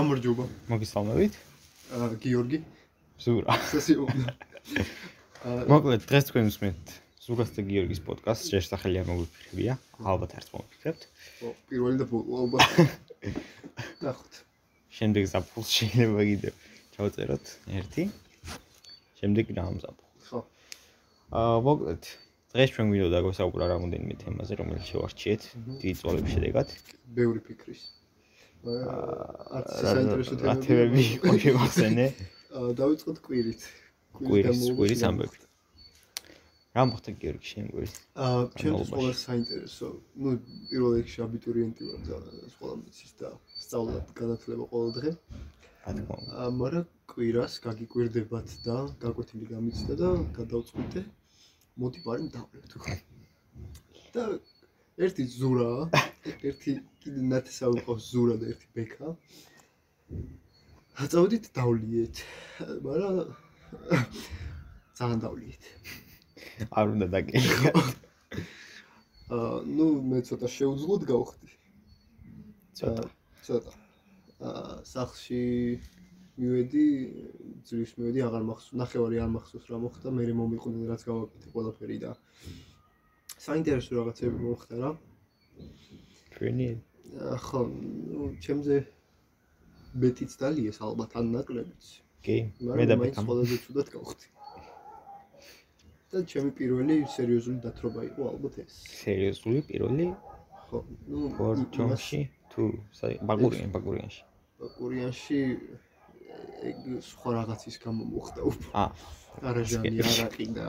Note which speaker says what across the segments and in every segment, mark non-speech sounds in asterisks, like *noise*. Speaker 1: გამარჯობა.
Speaker 2: მოგესალმებით.
Speaker 1: აა, გიორგი,
Speaker 2: ზურა.
Speaker 1: *laughs* სესიობნა. აა,
Speaker 2: მოკლედ დღეს თქვენ უსმენთ ზურას და გიორგის პოდკასტს, ჯერ სახელია მოგვიფიქრებია, ალბათ არც მოვიფიქრებთ.
Speaker 1: ო, პირველი და ბოლო ალბათ. ნახოთ.
Speaker 2: შემდეგ ზაფხულს შეიძლება კიდევ ჩავწეროთ ერთი. შემდეგ რა ამზაბო.
Speaker 1: ხო.
Speaker 2: აა მოკლედ დღეს ჩვენ გვინდოდა გასაუბრა რამოდენიმე თემაზე, რომელიც შევარჩიეთ დიდი წვალების შედეგად.
Speaker 1: ბევრი ფიქრის. აა, არც
Speaker 2: რა-
Speaker 1: საინტერესო
Speaker 2: რა თემები იყო
Speaker 1: *laughs*
Speaker 2: შემახსენე?
Speaker 1: აა, დავიწყოთ კვირით.
Speaker 2: კვირის,
Speaker 1: დამოუკიდებლად.
Speaker 2: კვირის ამბები. რა მოხდა გიორგი შენ კვირის?
Speaker 1: აა, ჩემთვის
Speaker 2: განმავლობაში.
Speaker 1: ყველა საინტერესო. ნუ პირველ რიგში აბიტურიენტი ვარ და ეს ყველა მიცის და სწავლა განათლება ყველა დღე.
Speaker 2: რა თქმა უნდა.
Speaker 1: აა, მაგრამ კვირას გაგიკვირდებათ და გაკვეთილი გამიცდა და გადავწყვიტე მოდი პარემ დავვლებ თუ ხარ. და ერთი ზურა, ერთი კიდე ნათესავი ყავს ზურა და ერთი ბექა. აწავდით დავლიეთ. მაგრამ ძალიან დავლიეთ.
Speaker 2: არ უნდა დაგეხა.
Speaker 1: აა, ну მე ცოტა შეუძლოდ გავხდი.
Speaker 2: ცოტა.
Speaker 1: ცოტა. აა სახში მივედი, ძვის მივედი, აღარ მახსოვს, ნახევარი არ მახსოვს რა მოხდა, მე მომიყვნენ რაც გავაკეთე ყველაფერი და საინტერესო რაღაცები მომხდა რა.
Speaker 2: ჩვენი
Speaker 1: აა, ხო, ну, ჩემზე მეტიც დალიეს ალბათ ან ნაკლებიც.
Speaker 2: კი,
Speaker 1: მაგრამ
Speaker 2: მე
Speaker 1: მაინც
Speaker 2: დაბეკამ.
Speaker 1: ყველაზე ცუდად გავხდი. და ჩემი პირველი სერიოზული დათრობა იყო ალბათ ეს.
Speaker 2: სერიოზული პირველი
Speaker 1: ხო, ну, იმას-
Speaker 2: ფორჯონში თუ საი- ბაგურიან, ბაგურიანში.
Speaker 1: კურიანში ეგ სხვა რაღაცის გამო მოხდა უფრო.
Speaker 2: აა,
Speaker 1: არაჟანი,
Speaker 2: სკე-
Speaker 1: არაყი და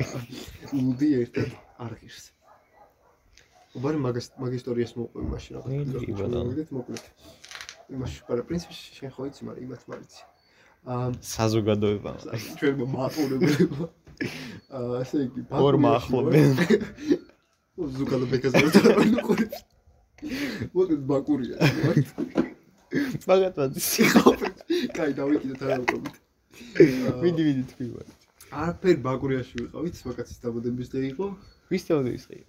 Speaker 1: ლუდი ერთად არ ღირს. უბარი მაგას მაგისტორიას მოყვი მაშინ
Speaker 2: ნი,
Speaker 1: რაღაც.
Speaker 2: კი, ბატონო.
Speaker 1: მოგდეთ, მოკლედ. იმაში პარა პრინციპში შენ ხო იცი, მაგრამ იმათ მარიცი. აა
Speaker 2: საზოგადოება. *laughs*
Speaker 1: ჩვენმა მაყურებლებმა *laughs* აა ესე იგი
Speaker 2: ორმა ახლობენ.
Speaker 1: ну, ზუკალო ბეკაზე ვარ. მოკლედ ბაკურია ვარ.
Speaker 2: მაგათაც
Speaker 1: *laughs*
Speaker 2: იყო.
Speaker 1: იყავით. კაი, დავიკიდეთ არა უკობით.
Speaker 2: ვიდი, ვიდი თქვი ვარ.
Speaker 1: არაფერ ბაკურიაში ვიყავით, მაგაცის დაბადების დღე იყო.
Speaker 2: ვის თავდეს ხი?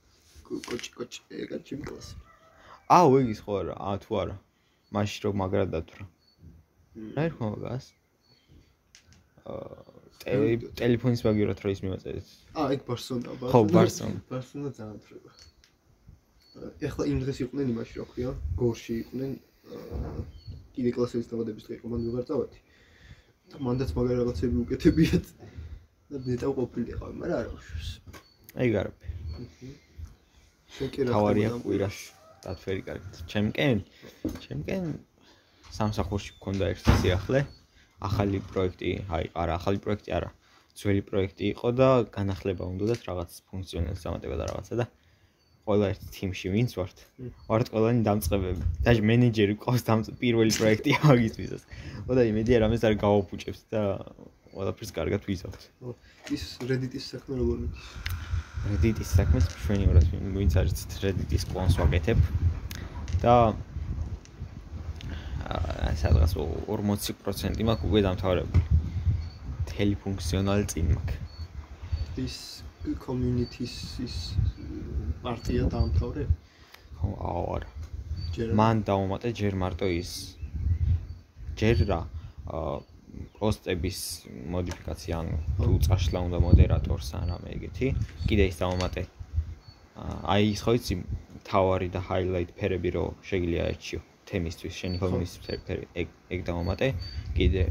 Speaker 1: კო- კოჩი, კოჩი, ეგა ჩემი კლასი.
Speaker 2: აუ, ეგის ხო არა, ა თუ არა. მაშინ რომ მაგრად დათვრა. რა ერქვა მაგას? აა, ტელე- ტელეფონის მაგივრად რო ის მივაწერეთ.
Speaker 1: ა, ეგ ბარსონა,
Speaker 2: ხო, ბარსონა.
Speaker 1: ბარსონა ძალიან თრება. ეხლა იმ დღეს იყვნენ იმაში, რა ქვია, გორში იყვნენ. აა, კიდე კლასების დაბადების დღე იყო, მან ვეღარ წავედი. და მანდაც მაგარი რაღაცები უკეთებიათ. და ნეტავ ყოფილიყავ, მაგრამ არა უშვის.
Speaker 2: ეგ არაფერი.
Speaker 1: შეკერა
Speaker 2: თავარია კვირას დათვერი კარგად. ჩემკენ? ჩემკენ სამსახურში მქონდა ერთი სიახლე. ახალი პროექტი, აი, არა, ახალი პროექტი არა. ძველი პროექტი იყო და განახლება უნდათ რაღაც ფუნქციონალს დამატება და რაღაცა და ყველა ერთ თიმში ვინც ვართ?
Speaker 1: მმ.
Speaker 2: ვართ ყველანი დამწყებები. დაჟე მენეჯერი ყავს დამ პირველი პროექტი *laughs* აგისთვისაც. ოდაი მედია რამეს არ გავაფუჭებს და ყველაფერს კარგად ვიზავთ.
Speaker 1: ის Reddit-ის საქმეობა მით.
Speaker 2: Reddit-ის საქმეს მშვენივრად ვინ- ვინც არის Reddit-ის კლონს ვაკეთებ და აა სადღაც 40% მაქვს უკვე დამთავრებული. მთელი ფუნქციონალი წინ მაქვს.
Speaker 1: ის community-ის ის პარტია დაამთავრე
Speaker 2: ხო, აუ არა.
Speaker 1: ჯერ
Speaker 2: მან დავუმატე ჯერ მარტო ის ჯერ რა აა პოსტების მოდიფიკაცია, ანუ თუ წაშლა უნდა მოდერატორს ან რამე ეგეთი, კიდე ის დავამატე. აა, აი ის ხო იცი თავარი და highlight ფერები რო შეიძლება აერჩიო თემისთვის, შენი
Speaker 1: ხო.
Speaker 2: ჰომის ფერი ეგ ეგ დავამატე, კიდე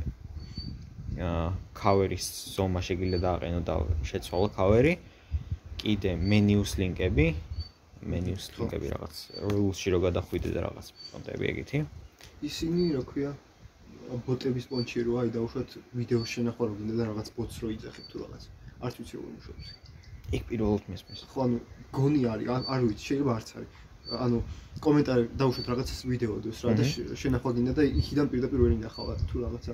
Speaker 2: აა cover-ის ზომა შეიძლება დააყენო და შეცვალო cover-ი. კიდე menus ლინკები, menus
Speaker 1: ხო.
Speaker 2: ლინკები რაღაც rules-ში რო გადახვიდე და რაღაც კონტები ეგეთი.
Speaker 1: ისინი რა ქვია ბოტების პონჩი რო აი დავუშვათ ვიდეოს შენახვა რო გინდა და რაღაც ბოტს რო იძახებ თუ რაღაც არც ვიცი როგორ მუშაობს
Speaker 2: იქ პირველად მესმის.
Speaker 1: ხო ანუ გონი არის არ- არ ვიცი შეიძლება არც არის ანუ კომენტარი დავუშვათ რაღაცას ვიდეოდოს რა და
Speaker 2: მჰმ.
Speaker 1: შე- შენახვა გინდა და იქიდან პირდაპირ ვერ ინახავ თუ რაღაცა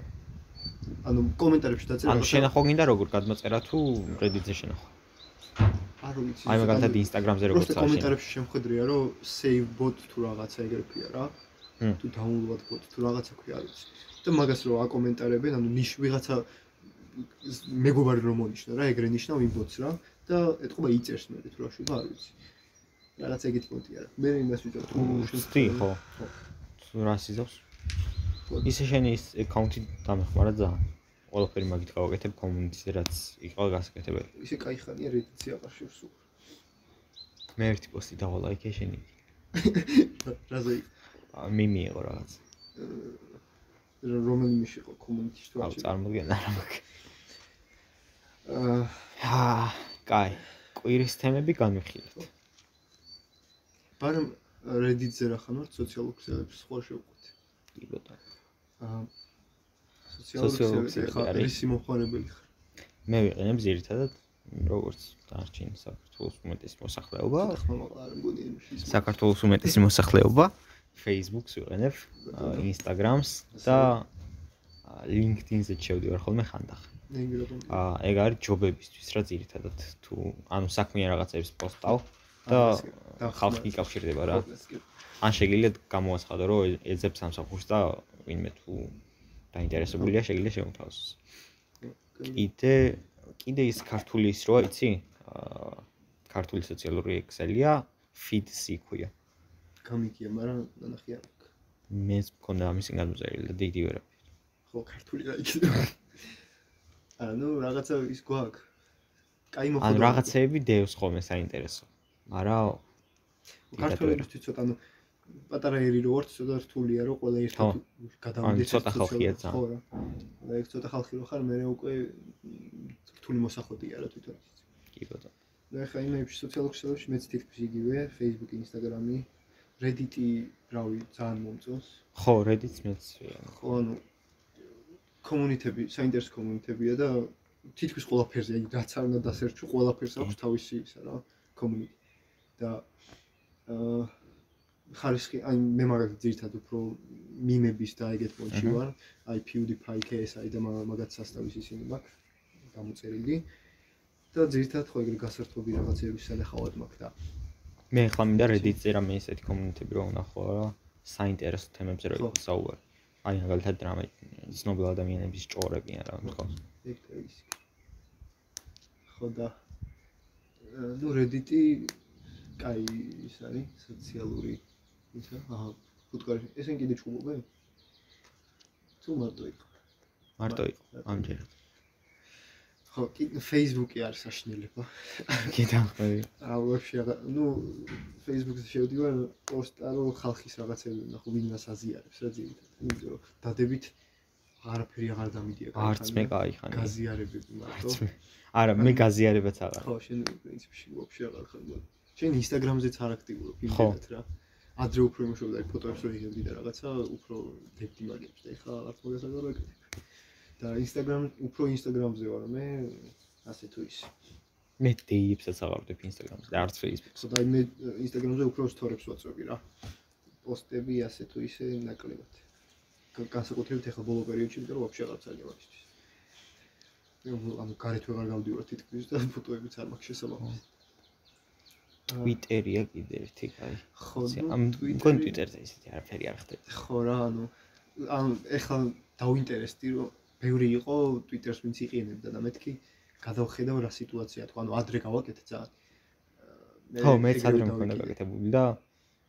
Speaker 1: ანუ კომენტარებში დაწერა
Speaker 2: ანუ შენახო გინდა როგორ გადმოწერა თუ Reddit-ზე შენახო.
Speaker 1: არ ვიცი
Speaker 2: აი მაგალითად
Speaker 1: ანუ
Speaker 2: Instagram-ზე როგორ
Speaker 1: просто
Speaker 2: წავა შენახო.
Speaker 1: კომენტარებში შემხედრია რომ save bot თუ რაღაცა ეგრეფია რა.
Speaker 2: მმ.
Speaker 1: თუ download bot თუ რაღაცა ქვია არის. და მაგას რო აკომენტარებენ, ანუ ნიშ ვიღაცა მეგობარი რომ მონიშნა რა, ეგრე ნიშნავ იმ bot-ს რა და ეთქობა იწერს მე თუ რა შეიძლება არ ვიცი. რაღაც ეგეთი პონტი არა. მე იმას ვიტყვი თუ
Speaker 2: უცდი ხო.
Speaker 1: ხო.
Speaker 2: თუ რას იზავს? ისე შენი ის აკაუნტი დამეხმარა ძალიან. ყველაფერი მაგით გავაკეთებ კომუნიტზე რაც იყო გასაკეთებელი.
Speaker 1: ისე кай ხანია რედიცი აყარშევს უყ.
Speaker 2: მე ერთი პოსტი დავალა იქ შენი.
Speaker 1: რაზე
Speaker 2: აა, მე მიიღო რაღაც.
Speaker 1: რომელიმე შეყო კომუნიტის თუ
Speaker 2: აუ წარმოგვიდგენ რა მაგ.
Speaker 1: აა
Speaker 2: აა, კაი. კვირის თემები განვიხილეთ.
Speaker 1: ბარემ რედიტზე რა ხან ვარ სოციალურ ქსელებს სხვა შევყვით.
Speaker 2: კი ბატონო.
Speaker 1: აა სოციალურ
Speaker 2: სოციალურ
Speaker 1: ქსელები
Speaker 2: ქსელები
Speaker 1: ხარ
Speaker 2: არის.
Speaker 1: რისი მომხმარებელი ხარ?
Speaker 2: მე ვიყენებ ზირთადად როგორც დარჩინი საქართველოს უმეტესი მოსახლეობა,
Speaker 1: ხმა მაყლა არ მგონი იმის.
Speaker 2: საქართველოს უმეტესი მოსახლეობა, Facebook-ს ვიყენებ, აა, Instagram-ს და აა, LinkedIn-ზე შევდივარ ხოლმე ხანდახან.
Speaker 1: ნიგი რომ
Speaker 2: აა, ეგ არის ჯობებისთვის რა ძირითადად თუ ანუ საქმიან რაღაცებს პოსტავ და ხალხი იკავშირდება რა. ან შეიძლება გამოაცხადო რომ ე- ეძებს სამსახურს და ვინმე თუ დაინტერესებულია შეიძლება შეუთავსოს. კიდე კიდე ის ქართული ის როა იცი? აა ქართული სოციალური ექსელია, feed-ს იქვია.
Speaker 1: გამიგია, მაგრამ ნანახი არ აქვს.
Speaker 2: მე მქონდა ამის განმოწერილი და დიდი ვერა.
Speaker 1: ხო, ქართული რა იქნება. ანუ რაღაცა ის გვაქვს. კაი მოხდა.
Speaker 2: ან რაღაცეები დევს ხოლმე საინტერესო. მაგრამ
Speaker 1: ქართველებისთვის ცოტა ანუ პატარა ერი რო ვარ, ცოტა რთულია რომ ყველა ერთად გადავიდეს.
Speaker 2: ან ცოტა
Speaker 1: ეს
Speaker 2: ხალხია
Speaker 1: სოციალურ- ხო რა. და ეგ ცოტა ხალხი რო ხარ, მე უკვე მ, რთული მოსახოდია რა თვითონ.
Speaker 2: კი ბატონო.
Speaker 1: და ახლა იმებში სოციალურ ქსელებში მეც თითქოს იგივე, Facebook-ი, Instagram-ი, Reddit-ი, რავი, ძალიან მომწონს.
Speaker 2: ხო, Reddit-ს მეც ვიყენებ.
Speaker 1: ხო, ანუ კომუნიტები, საინტერესო კომუნიტებია და თითქოს ყველაფერზე, აი, რაც არ უნდა დასერჩო, ყველაფერს აქვს თავისი ისა რა, კომუნიტი. და აა ხარისხი, აი მე მაგალითად ძირთად უფრო მიმების და ეგეთ პონჩი
Speaker 2: აჰა.
Speaker 1: ვარ, აი PewDiePie, KSI და მაგ- მაგათ სასტავის ისინი მაქვს გამოწერილი. და ძირთად ხო ეგრე გასართობი რაღაცეების სანახავად მაქვს და
Speaker 2: მე ახლა მინდა Reddit-ზე რამე ესეთი კომუნიტები რომ ვნახო რა, საინტერესო თემებზე რომ
Speaker 1: ხო.
Speaker 2: იყოს საუბარი. აი, მაგალითად რამე ცნობილ ადამიანების ჭორებიან რა მithqავს.
Speaker 1: ეგ და ის. ხო და აა, ნუ Reddit-ი კაი ის არის, სოციალური ისა, აჰა, ფუტკარი. ესენ კიდე ჩუბობენ? თუ მარტო იყო.
Speaker 2: მარტო იყო ამჯერად.
Speaker 1: ხო, კი Facebook-ი არის საშნელება.
Speaker 2: კი დამხვევი.
Speaker 1: რა ვაფშე აღარ, ნუ Facebook-ზე შევდივარ პოსტა რომ ხალხის რაღაცები ნახო, ვინ მას აზიარებს რა ძირითადად. იმიტომ რომ დადებით არაფერი აღარ დამიდია.
Speaker 2: არც მე კაი ხანი.
Speaker 1: გაზიარებები მარტო.
Speaker 2: არც მე. არა, მე გაზიარებაც აღარ.
Speaker 1: ხო, შენ პრინციპში ვაფშე აღარ ხარ მაგრამ შენ ინსტაგრამზეც არ აქტიურობ
Speaker 2: ხო.
Speaker 1: იმედად რა. ადრე უფრო იმუშავდა იქ ფოტოებს რო იღებდი და რაღაცა უფრო დებდი მაგებს და ეხლა არც მაგას აღარ ვაკეთებ. და ინსტაგრამ უფრო ინსტაგრამზე ვარ მე ასე თუ ის.
Speaker 2: მე დეიებსაც აღარ ვდებ Instagram-ზე და არც Facebook-ზე.
Speaker 1: ხო და მე ინსტაგრამზე უფრო სტორებს ვაწვევი რა. პოსტები ასე თუ ისე ნაკლებად. გა- განსაკუთრებით ეხლა ბოლო პერიოდში, იმიტომ რომ ვაფშე აღარ ძალიან მაგისტის. ანუ გარეთ ვეღარ გავდივარ თითქმის და ფოტოებიც არ მაქვს შესაძლებელი.
Speaker 2: Twitter-ია კიდე ერთი კაი.
Speaker 1: ხო,
Speaker 2: ზე-
Speaker 1: ნუ,
Speaker 2: ამ
Speaker 1: Twitter-ი-
Speaker 2: გონ Twitter-ზე ისეთი არაფერი არ ხდება.
Speaker 1: ხო რა, ანუ ან ეხლა დავინტერესდი, რომ ბევრი იყო Twitter-ს ვინც იყენებდა და მეთქი გადავხედავ რა სიტუაცია თქო, ანუ ადრე გავაკეთე ძალიან. აა, მე
Speaker 2: ხო, მეც
Speaker 1: ეგრევე
Speaker 2: ადრე მქონდა
Speaker 1: დავიკიდე.
Speaker 2: გაკეთებული და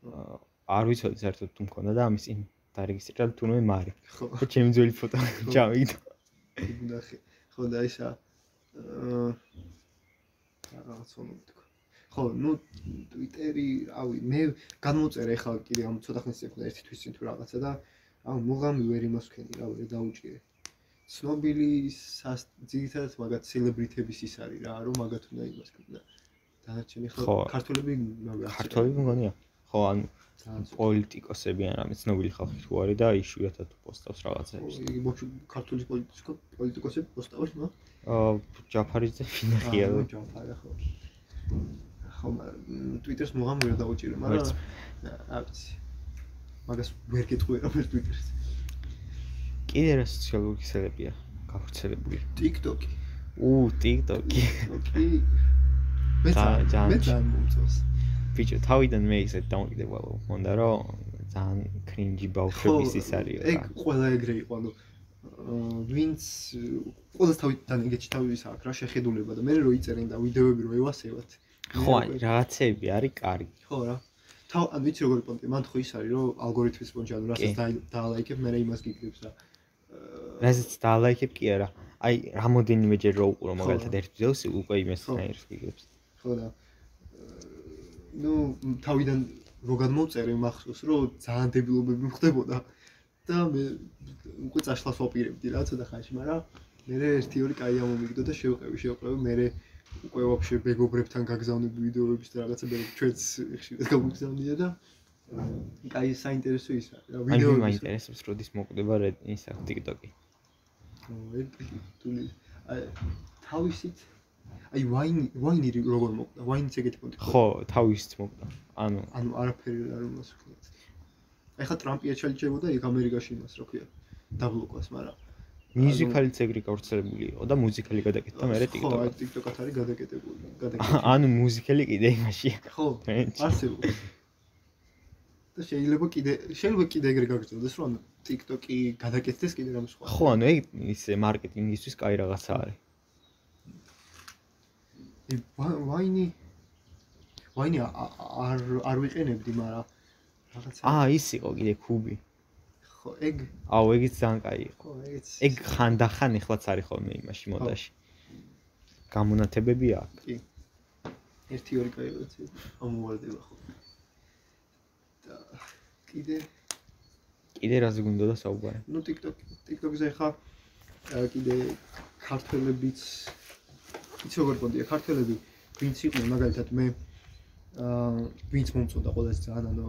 Speaker 2: აა, არ ვიცოდი საერთოდ თუ მქონდა და ამის იმ დარეგისტრირდა თუნმე მარი.
Speaker 1: ხო,
Speaker 2: და ჩემი ძველი ფოტო *laughs* ჩავიგდა.
Speaker 1: გუნახე. ხო და ისა აა რაღაც მომენტი თქო. ხო, ნუ Twitter-ი, რავი, მე გამოწერე ეხლა კიდე ამ ცოტა ხნის წინ ერთი თვის წინ თუ რაღაცა და აუ მოღამი ვერ იმოსქენი, რავი, რა დაუჭირე. ცნობილი სას- ძირითადად მაგათ სელებრიტების ის არის რა, რომ მაგათ უნდა იმას ქნა. დანარჩენი ხო
Speaker 2: ხო.
Speaker 1: ქართველები მაგათ
Speaker 2: ქართველები მგონია. ხო, ან
Speaker 1: ძალიან ცოტა.
Speaker 2: პოლიტიკოსები ან რამე ცნობილი ხალხი თუ არის და იშვიათად პოსტავს რაღაცებს.
Speaker 1: იგი მოჩუ ქართული პოლიტიკო პოლიტიკოსები პოსტავენ, ნო?
Speaker 2: აა ჯაფარიძე ფინახია და
Speaker 1: ჯამფარა ხო. ხო, მაგრამ ტვიტერს მოღამ ვერ დაუჭირე,
Speaker 2: ვერც.
Speaker 1: მაგრამ რა ვიცი. მაგას ვერ გეტყვი რამე ტვიტერს.
Speaker 2: კიდე რა სოციალური ქსელებია გავრცელებული.
Speaker 1: TikTok-ი.
Speaker 2: უუ, TikTok-ი.
Speaker 1: TikTok-ი მე
Speaker 2: ძალიან-
Speaker 1: ძალიან
Speaker 2: ძალიან-
Speaker 1: მე ძალიან მომწონს.
Speaker 2: ბიჭო, თავიდან მე ისეთ დამოკიდებულა მქონდა, რომ ძალიან კრინჯი ბავშვების ის არის.
Speaker 1: ეგ ყველა ეგრე იყო, ანუ აა, ვინც ყველა თავიდან ეგეთში თავის აქვს რა შეხედულება და მე რო იწერენ და ვიდეოები რო ევასევათ.
Speaker 2: ხო, აი, რაღაცეები არის კარგი.
Speaker 1: ხო რა. თავ ან ვიცი როგორი პონტი მან ხო ის არის რომ ალგორითმის პონჩი ანუ რასაც
Speaker 2: კი.
Speaker 1: დაი- დაალაიქებ მე რა იმას გიგებს რა აა,
Speaker 2: რასაც დაალაიქებ კი არა. აი, რამოდენიმეჯერ რო უყურო
Speaker 1: ხო.
Speaker 2: მაგალითად ერთ ვიდეოს უკვე იმესნაირს გიგებს.
Speaker 1: ხო და აა, ნუ მ, თავიდან რო გადმოვწერე მახსოვს რომ ძალიან დებილობები მხდებოდა და მე უკვე წაშლას ვაპირებდი რა ცოტა ხანში მაგრამ მე ერთი ორი კაი ამომიგდო და შევყევი შევყევი მე უკვე ვაფშე მეგობრებთან გაგზავნები ვიდეოებს და რაღაცა მე ჩვენც ხშირად გამოგზავნია და აა, კაი საინტერესო ის რა, რა
Speaker 2: აი, მე
Speaker 1: ვიდეოები
Speaker 2: მაინტერესებს როდის მოკვდება რე- ისა TikTok-ი.
Speaker 1: ტული აი თავისით აი ვაინი ვაინი რი- როგორ მოკვდა ვაინიც ეგეთი პონტი ხო
Speaker 2: ხო, თავისით მოკვდა. ანუ
Speaker 1: ანუ არაფერი არ უნდა სუქნიათ აი ხა ტრამპი ეჩალიჭებოდა იქ ამერიკაში იმას რა ქვია დაბლოკოს მაგრამ
Speaker 2: მუსიკალიც ეგრე გავრცელებული იყო და მუსიკალი გადაკეთდა მე
Speaker 1: ხო აი
Speaker 2: TikTok-ად.
Speaker 1: TikTok-ათ არის გადაკეტებული გადაკეტებული
Speaker 2: *laughs* ანუ მუსიკალი კიდე იმაშია.
Speaker 1: ხო არსებობს და შეიძლება კიდე შეიძლება კიდე ეგრე გაგრძელდეს რომ ანუ TikTok-ი გადაკეთდეს კიდე რამე სხვა
Speaker 2: ხო, ანუ ეგ ისე მარკეტინგისთვის კაი რაღაცა არის.
Speaker 1: ი- ვა- ვაინი ვაინი ა- ა- არ არ ვიყენებდი მაგრამ რაღაცა
Speaker 2: აა, ის იყო კიდე კუბი.
Speaker 1: ხო, ეგ
Speaker 2: აუ, ეგიც ძალიან კაი იყო.
Speaker 1: ხო, ეგეც
Speaker 2: ეგ ხანდახან ახლაც არის ხოლმე იმაში მოდაში. გამონათებები აქვს.
Speaker 1: ერთი ორი კაილოც ამოვარდება ხო. და კიდე,
Speaker 2: კიდე რაზე გუნდოდა საუბარი?
Speaker 1: ну TikTok, TikTok-ზე ხა აა, კიდე ქართველებიც იცი როგორ გქონდია ქართველები, ვინც იყვნენ მაგალითად მე აა ვინც მომწონდა ყოველთვის ძალიან ანუ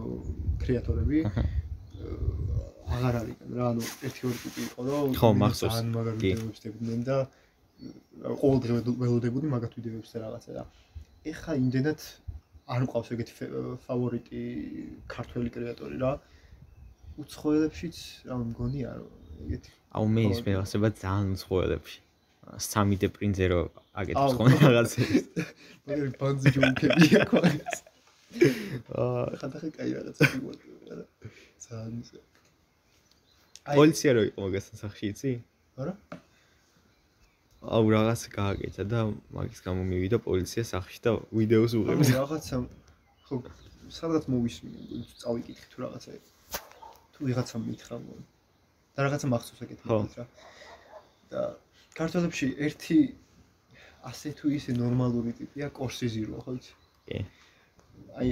Speaker 1: კრეატორები
Speaker 2: აჰა.
Speaker 1: აა, აღარ არიან რა, ანუ ერთი ორი ტიპი იყო რომ
Speaker 2: ხო, მახსოვს,
Speaker 1: ძალიან მაგარ
Speaker 2: კი.
Speaker 1: ვიდეოებს დებდნენ და რა, ყოველდღე ველო- ველოდებოდი მაგათ ვიდეოებს და რაღაცა და ეხა იმდენად არ მყავს ეგეთი ფე- ფავორიტი ქართველი კრეატორი რა უცხოელებშიც რა მგონია რომ ეგეთი
Speaker 2: აუ, მე ის
Speaker 1: ხო.
Speaker 2: მელასება ძალიან უცხოელებში. 3D პრინტზე რო
Speaker 1: აუ.
Speaker 2: აკეთებს ხოლმე
Speaker 1: *laughs*
Speaker 2: რაღაცებს.
Speaker 1: მაგარი ბანძი ჯოუკებია ქვალს
Speaker 2: აა,
Speaker 1: ხანდახან კაი რაღაცა გიმოწოდება რა ძალიან ისე
Speaker 2: პოლიცია რო იყო მაგასთან სახში, იცი?
Speaker 1: არა?
Speaker 2: აუ, რაღაც გააკეთა და მაგის გამო მივიდა პოლიცია სახში და ვიდეოს
Speaker 1: ანუ
Speaker 2: უღებს. *laughs*
Speaker 1: რაღაცა ხო სადღაც მოვისმინე წავიკითხე თუ რაღაცა თუ ვიღაცამ მითხრა მო და რაღაცა მახსოვს ეგეთ
Speaker 2: ხო.
Speaker 1: მომენტს რა და ქართველებში ერთი ასე თუ ისე ნორმალური ტიპია კორსიზირო ხო იცი
Speaker 2: კი.
Speaker 1: აი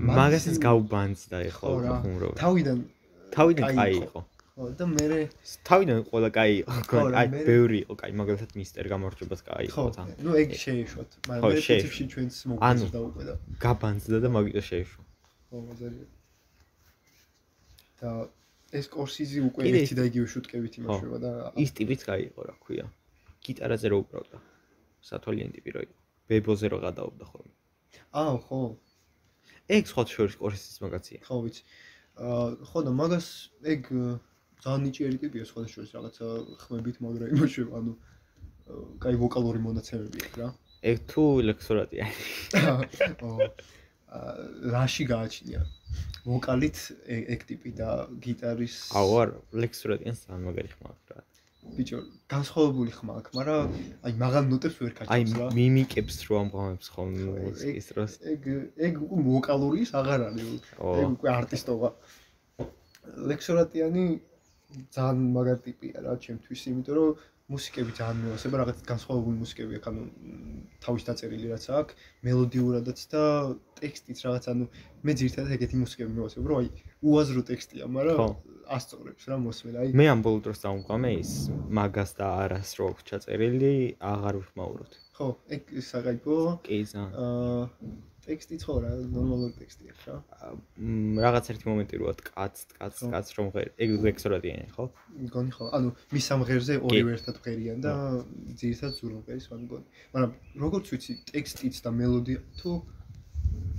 Speaker 1: მან
Speaker 2: მაგასაც
Speaker 1: ისე-
Speaker 2: გაუბანძდა ეხლა
Speaker 1: ხო, რა.
Speaker 2: ხუმრობ.
Speaker 1: თავიდან
Speaker 2: თავიდან
Speaker 1: კაი
Speaker 2: კაი
Speaker 1: იყო.
Speaker 2: იყო.
Speaker 1: ხო, და მე
Speaker 2: თავიდან ყველა კაი იყო.
Speaker 1: ხო, რა,
Speaker 2: აი,
Speaker 1: მე-
Speaker 2: ბევრი იყო კაი, მაგალითად მისტერ გამარჯვებას კაი
Speaker 1: ხო
Speaker 2: იყო თან.
Speaker 1: ნუ ეგ შეეშოთ
Speaker 2: ხო,
Speaker 1: მაგრამ მე
Speaker 2: შეეშვა.
Speaker 1: პრინციპში ჩვენც მოგვიწევდა უკვე და
Speaker 2: გაბანძდა და მაგიტო შეიშო.
Speaker 1: ხო მაზარია და ეს კორსიზი უკვე
Speaker 2: კიდე
Speaker 1: ერთი და იგივე შუტკებით
Speaker 2: ხო.
Speaker 1: იმაშება და
Speaker 2: ის ტიპიც კაი იყო, რა ქვია. გიტარაზე რო უკრავდა. სათვალიანი ტიპი რო იყო. ბებოზე რო გადაობდა ხოლმე.
Speaker 1: აო ხო
Speaker 2: ეგ სხვა შორის კორესის მაგაცია.
Speaker 1: ხო ვიცი აა ხო და მაგას ეგ აა, ძალიან ნიჭიერი ტიპია სხვადასხვა შორის რაღაცა ხმებით მაგრამ იმაშება ანუ აა, კაი ვოკალური მონაცემები აქვს
Speaker 2: ეგ თუ ლექსორატი არის.
Speaker 1: რა *coughs* ო, აა, რაში გააჩნია ვოკალით ე- ეგ ტიპი და გიტარის
Speaker 2: აუ, არ, ლექსორატიანს ძალიან მაგარი ხმა აქვს რა.
Speaker 1: ბიჭო განსხვავებული ხმა აქვს მაგრამ აი მაღალ ნოტებს ვერ
Speaker 2: აი
Speaker 1: კაჩავს რა
Speaker 2: მიმიკებს რო ამღავებს ხოლმე
Speaker 1: ხო, ეგ-
Speaker 2: მუსიკის დროს.
Speaker 1: ეგ ეგ უკვე ვოკალურის აღარ არის ეგ
Speaker 2: ო,
Speaker 1: უკვე არტისტობა. ლექსორატიანი ძალიან მაგარ ტიპია რა ჩემთვის, იმიტომ რომ მუსიკები ძალიან მეოსება, რაღაც განსხვავებული მუსიკები აქვს, ანუ მ, თავის დაწერილი რაც აქვს, მელოდიურადაც და ტექსტიც რაღაც, ანუ მე ძირთადად ეგეთი მუსიკები მეოსებ, რომ აი უაზრო ტექსტია,
Speaker 2: ხო.
Speaker 1: მაგრამ ასწორებს რა მოსმენა. აი
Speaker 2: მე ამ ბოლო დროს დავუმყამე ის მაგას და არას რო აქვს ჩაწერილი, აღარ ვხმაუროთ.
Speaker 1: ხო, ეგ საგაიფო
Speaker 2: კი ზან.
Speaker 1: აა ტექსტი ხო რა, ნორმალური ტექსტია რა.
Speaker 2: რაღაც ერთი მომენტი როა კაც, კაც,
Speaker 1: ხო.
Speaker 2: კაც რომ ღერ ეგ ლექსორატიანი ხო?
Speaker 1: მგონი ხო, ანუ მის სამღერზე ორივე ერთად ღერიან და ძირითადად ზურამყერის ვარ მგონი. მაგრამ როგორც ვიცი, ტექსტიც და მელოდია თუ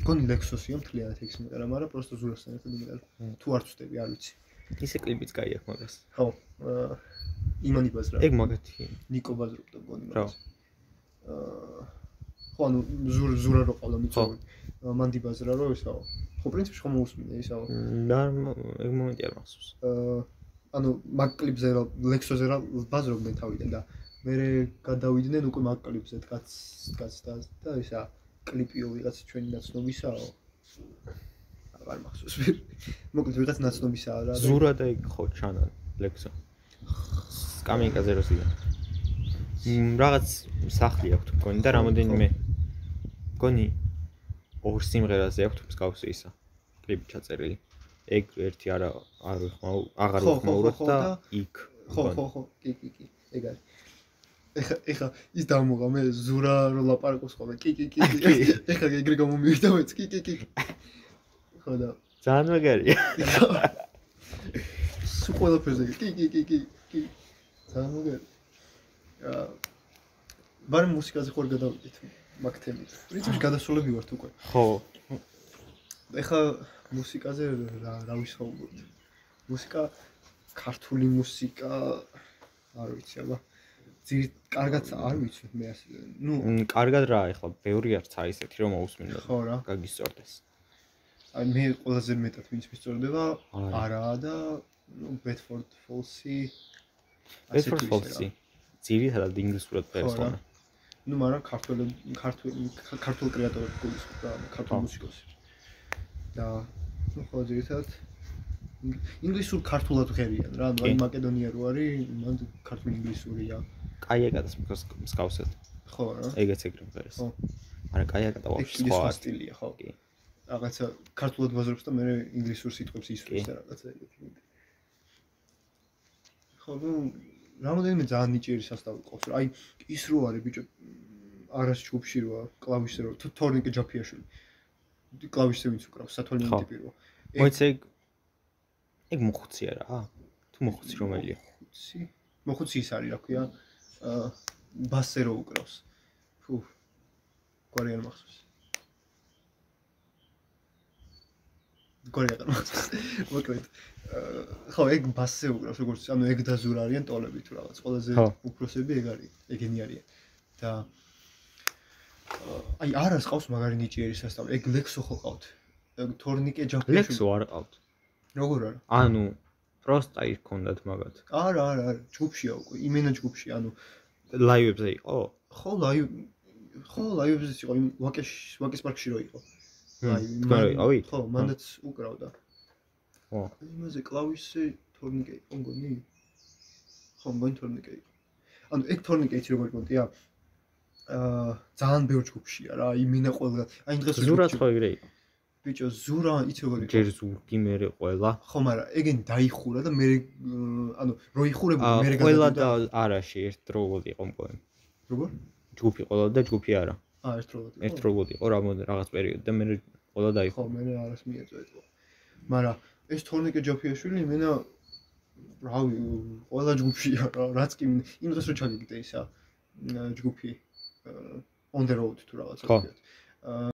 Speaker 1: მგონი ლექსოსია მთლიანად ექს მეტარა, მაგრამ просто ზურასთან ერთად იმეტარა. თუ არ ვწდები, არ ვიცი.
Speaker 2: ისე კლიპიც კაი აქვს მაგას.
Speaker 1: ხო, აა, იმანი ბაზრა.
Speaker 2: ეგ მაგათი.
Speaker 1: ნიკო ბაზრობდა მგონი
Speaker 2: რა.
Speaker 1: მას. აა ხო, ანუ ზურ ზურა რო ყავდა მიწოვი. მანდი ბაზრა რო ისაო. ხო, პრინციპში ხომ მოусმინე ისაო.
Speaker 2: მ, და არ მ- ეგ მომენტი არ მახსოვს.
Speaker 1: აა, ანუ მაგ კლიპზე რა ლექსოზე რა ბაზრობდნენ თავიდან და მე გადავიდნენ უკვე მაგ კლიპზე დგაც დგაც და და ისა კლიპიო ვიღაც ჩვენი ნაცნობისაო არ მახსოვს ვერ. მოკლედ ვიღაც ნაცნობისაა რა. და-
Speaker 2: ზურა და იქ ხო ჩანა ლექსო. სკამიკა 0-დან. რაღაც სახლი აქვს გონი და
Speaker 1: ხო,
Speaker 2: რამოდენიმე გონი ორ სიმღერაზე აქვს მსგავსი ისა. კლიპი ჩაწერილი. ეგ ერთი არა არ ვიხმაო, აღარ
Speaker 1: ხო, ხო,
Speaker 2: ვიხმაუროთ
Speaker 1: ხო,
Speaker 2: და
Speaker 1: და-
Speaker 2: იქ.
Speaker 1: ხო ხო ხო კი კი კი ეგ არის ეხა ეხა ის დამოღა მე ზურა რო ლაპარაკობს ხოლმე კი კი კი კი. ეხა ეგრე გამომივიდა მეც კი კი კი ხო და
Speaker 2: ძალიან მაგარია. *laughs*
Speaker 1: სულ ყველაფერზე კი კი კი კი კი ძალიან მოგერ აა ბარ მუსიკაზე ხوار გადავიდეთ მაგ თემით პრინციპში გადასულები ვართ უკვე
Speaker 2: ხო.
Speaker 1: ეხა მუსიკაზე რა რა ვისაუბროთ? მუსიკა ქართული მუსიკა არ ვიცი, აბა ძირით კარგად არ ვიცი მე ასე. ნუ
Speaker 2: მ, კარგად რა ეხლა ბევრი არც არის ესეთი რომ მოусმინო.
Speaker 1: ხო რა.
Speaker 2: გაგისწორდეს.
Speaker 1: აი მე ყველაზე მეტად ვინც მისწორდება
Speaker 2: არა.
Speaker 1: არაა და ნუ ბედფორდ ფოლსი
Speaker 2: Bedford Falls-ი ძირითადად ინგლისურად
Speaker 1: ხო, რა.
Speaker 2: პერსონა.
Speaker 1: ნუ მაგრამ ქართულ ქართულ ქართულ კრეატორებს გულისხმობ რა, ქართულ
Speaker 2: ხო.
Speaker 1: მუსიკოსებს. და ну ხო ძირითადად ing- ინგლისურ ქართულად ღერიან რა, ანუ აი
Speaker 2: კი.
Speaker 1: მაკედონია რო არის, მანდ ქართულ ინგლისურია.
Speaker 2: კაიაკატას მის მსგავსად.
Speaker 1: ხო რა.
Speaker 2: ეგეც ეგრე მღერის.
Speaker 1: ხო.
Speaker 2: არა კაიაკატა
Speaker 1: ეგ
Speaker 2: ვაფშე
Speaker 1: კიდე
Speaker 2: სხვა
Speaker 1: სხვა
Speaker 2: არის.
Speaker 1: სტილია, ხო.
Speaker 2: კი.
Speaker 1: რაღაცა ქართულად ბაზრობს და მე ინგლისურ სიტყვებს ისვრის
Speaker 2: კი.
Speaker 1: და რაღაცა ეგეთი. ხო, ну რამოდენიმე ძალიან ნიჭიერი სასტავი ყავს. რა. აი ის რო არის ბიჭო მ, არას ჯგუფში როა, კლავიშზე რო თო- თორნიკე ჯაფიაშვილი. კლავიშზე ვინც უკრავს,
Speaker 2: ხო.
Speaker 1: სათვალიანი ტიპი როა. ეგ-
Speaker 2: მოიც ეგ ეგ მოხუცია რა. თუ მოხუცი რომელია?
Speaker 1: ხუთი. მოხუცი ის არის, რა ქვია, აა ბასზე რო უკრავს. ფუ. გვარი არ მახსოვს. გვარი არ მახსოვს. მოკლედ, აა, ხო, ეგ ბასზე უკრავს, როგორც ანუ ეგ დაზურ არიან ტოლები თუ რაღაც. ყველაზე
Speaker 2: ხო.
Speaker 1: უფროსები ეგ არის, ეგენი არიან. და აა, აი, არას ყავს მაგარი ნიჭიერი სასწავლი. ეგ ლექსო ხო ყავთ. ეგ თორნიკე ჯაფიაშვილი.
Speaker 2: ლექსო არ ყავთ.
Speaker 1: როგორ არა?
Speaker 2: ანუ პროსტა ის ქონდათ მაგათ.
Speaker 1: არა, არა, არა, ჯგუფშია უკვე, იმენა ჯგუფში, ანუ
Speaker 2: ლაივებზე იყო?
Speaker 1: ხო ლაივ ხო ლაივზეც იყო იმ ვაკეს ვაკეს პარკში რო იყო ლაივი,
Speaker 2: თქვენ
Speaker 1: მან-
Speaker 2: რა იყავით?
Speaker 1: ხო მანდაც უკრავდა
Speaker 2: ხო.
Speaker 1: იმაზე კლავისი თორნიკე იყო მგონი ხო მგონი თორნიკე იყო ანუ ეგ თორნიკე იცი როგორ გონტია აა ძალიან ბევრ ჯგუფშია რა იმინა ყველა აი დღეს
Speaker 2: ზურაც
Speaker 1: ჯგუფში-
Speaker 2: ხო ეგრე იყო.
Speaker 1: ბიჭო ზურა იცი როგორ იყო
Speaker 2: ჯერ ზურგი მერე ყველა.
Speaker 1: ხო მაგრამ ეგენი დაიხურა და მე ანუ რო იხურება
Speaker 2: აა,
Speaker 1: მე
Speaker 2: ყველა და არაში ერთდროულად იყო მგონი.
Speaker 1: როგორ
Speaker 2: ჯგუფი ყველა და ჯგუფი არა.
Speaker 1: აა ერთდროულად იყო?
Speaker 2: ერთდროულად იყო რამო რაღაც პერიოდი და მერე ყველა
Speaker 1: ხო,
Speaker 2: დაიხო.
Speaker 1: მე რა არას მიეწოდება. მაგრამ ეს თორნიკე ჯაფიაშვილი მენა რავი, ყველა ჯგუფშია *laughs* რა, რაც კი იმდას რომ ჩაგიგდე ისა м, ჯგუფი on the road თუ რაღაცა
Speaker 2: ხო.
Speaker 1: თქვია.